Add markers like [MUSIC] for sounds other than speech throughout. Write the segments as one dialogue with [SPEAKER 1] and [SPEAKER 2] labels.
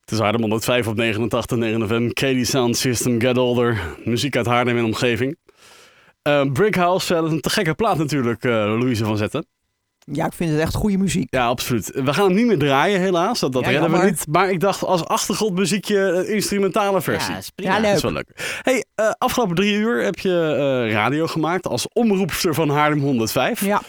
[SPEAKER 1] Het is Haarlem 105 op 89, 9 FM. Katie Sound System, Get Older. Muziek uit Haarlem en omgeving. Eh Brick House, ja, dat is een te gekke plaat natuurlijk, eh, Louise van Zetten.
[SPEAKER 2] Ja, ik vind het echt goede muziek.
[SPEAKER 1] Ja, absoluut. We gaan hem niet meer draaien helaas, dat, dat
[SPEAKER 2] Ja,
[SPEAKER 1] redden we
[SPEAKER 2] jammer.
[SPEAKER 1] niet. Maar ik dacht als achtergrondmuziekje een instrumentale versie.
[SPEAKER 3] Ja, is prima.
[SPEAKER 2] Ja,
[SPEAKER 1] Dat
[SPEAKER 2] leuk.
[SPEAKER 1] is wel leuk. Hey, eh, afgelopen drie uur heb je eh, radio gemaakt als omroepster van Haarlem 105.
[SPEAKER 2] Ja,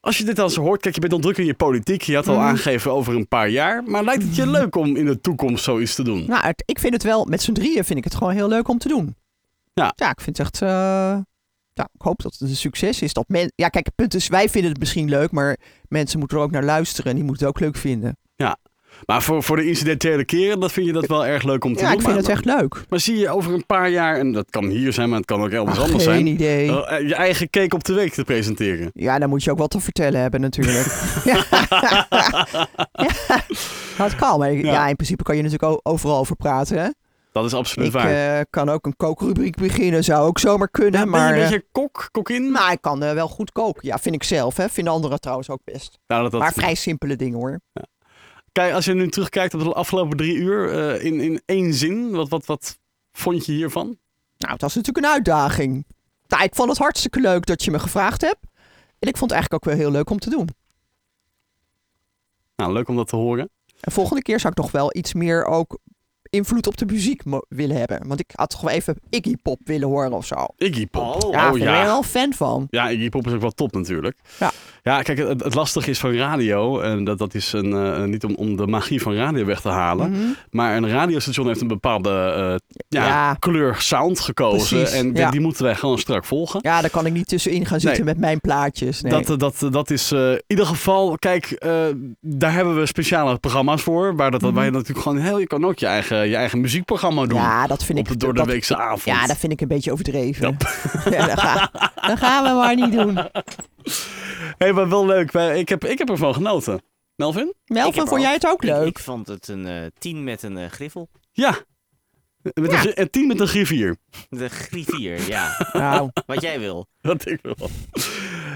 [SPEAKER 1] Als je dit dan zo hoort, kijk, je bent al druk in je politiek. Je had al
[SPEAKER 2] Mhm.
[SPEAKER 1] aangegeven over een paar jaar. Maar lijkt het je leuk om in de toekomst zoiets te doen?
[SPEAKER 2] nou, het- ik vind het wel, met z'n drieën vind ik het gewoon heel leuk om te doen.
[SPEAKER 1] Ja.
[SPEAKER 2] Ja, ik vind het echt, eh, ja, ik hoop dat het een succes is. Dat men, ja, kijk, het punt is, wij vinden het misschien leuk, maar mensen moeten er ook naar luisteren en die moeten het ook leuk vinden.
[SPEAKER 1] Maar voor, voor de incidentele keren, dat vind je dat wel erg leuk om te
[SPEAKER 2] Ja,
[SPEAKER 1] doen.
[SPEAKER 2] ik vind
[SPEAKER 1] maar,
[SPEAKER 2] het echt leuk.
[SPEAKER 1] maar zie je over een paar jaar, en dat kan hier zijn, maar het kan ook elders
[SPEAKER 2] Ach, geen
[SPEAKER 1] anders zijn.
[SPEAKER 2] idee.
[SPEAKER 1] eh, je eigen cake op de week te presenteren.
[SPEAKER 2] Ja, dan moet je ook wat te vertellen hebben natuurlijk.
[SPEAKER 1] [LAUGHS]
[SPEAKER 2] ja. ja, dat kan. Maar ja. in principe kan je natuurlijk o- overal over praten. Hè?
[SPEAKER 1] Dat is absoluut
[SPEAKER 2] Ik
[SPEAKER 1] waar.
[SPEAKER 2] eh, kan ook een kookrubriek beginnen, zou ook zomaar kunnen.
[SPEAKER 1] Ja, ben
[SPEAKER 2] maar,
[SPEAKER 1] je een
[SPEAKER 2] eh,
[SPEAKER 1] beetje kok, kokin?
[SPEAKER 2] maar ik kan eh, wel goed koken. Ja, vind ik zelf. Hè? Vinden anderen trouwens ook best.
[SPEAKER 1] Nou, dat, dat-
[SPEAKER 2] Maar vrij simpele dingen hoor.
[SPEAKER 1] Kijk, als je nu terugkijkt op de afgelopen drie uur, eh, in, in één zin, wat, wat, wat vond je hiervan?
[SPEAKER 2] Nou, het was natuurlijk een uitdaging. Nou, ik vond het hartstikke leuk dat je me gevraagd hebt. En ik vond het eigenlijk ook wel heel leuk om te doen.
[SPEAKER 1] Nou, leuk om dat te horen.
[SPEAKER 2] En volgende keer zou ik nog wel iets meer ook invloed op de muziek mo- willen hebben. Want ik had toch wel even Iggy Pop willen horen of zo.
[SPEAKER 1] Iggy Pop. Oh,
[SPEAKER 2] Ja, ik ben er
[SPEAKER 1] ja.
[SPEAKER 2] wel fan van.
[SPEAKER 1] Ja, Iggy Pop is ook wel top natuurlijk.
[SPEAKER 2] Ja.
[SPEAKER 1] Ja, kijk, het, het lastige is van radio, en dat, dat is een, eh, niet om, om de magie van radio weg te halen,
[SPEAKER 2] Mhm.
[SPEAKER 1] maar een radiostation heeft een bepaalde eh, ja,
[SPEAKER 2] Ja.
[SPEAKER 1] kleur sound gekozen.
[SPEAKER 2] Precies,
[SPEAKER 1] en
[SPEAKER 2] ja.
[SPEAKER 1] die moeten wij gewoon strak volgen.
[SPEAKER 2] Ja, daar kan ik niet tussenin gaan zitten met mijn plaatjes. Nee.
[SPEAKER 1] Dat, eh, dat, eh, dat is eh, in ieder geval, kijk, eh, daar hebben we speciale programma's voor. Waar, dat, waar je natuurlijk gewoon heel, je kan ook je eigen, je eigen muziekprogramma doen.
[SPEAKER 2] Mhm. ja, dat vind
[SPEAKER 1] op
[SPEAKER 2] ik...
[SPEAKER 1] de door de
[SPEAKER 2] dat-
[SPEAKER 1] weekse avond.
[SPEAKER 2] Ja, dat vind ik een beetje overdreven. [LAUGHS] Ja, dat, ga- dat gaan we maar niet doen.
[SPEAKER 1] hey, maar wel leuk. Wij- Ik heb, ik heb ervan genoten. Melvin?
[SPEAKER 3] Ik heb
[SPEAKER 2] Melvin, vond jij het ook
[SPEAKER 3] Ik-
[SPEAKER 2] leuk?
[SPEAKER 3] Ik, vond het een eh, 10 met een eh, griffel.
[SPEAKER 1] Ja. Met een,
[SPEAKER 2] Ja.
[SPEAKER 1] gri- een team met een griffier.
[SPEAKER 3] De griffier, ja.
[SPEAKER 2] Nou,
[SPEAKER 3] Wat jij wil.
[SPEAKER 1] Dat denk ik wel.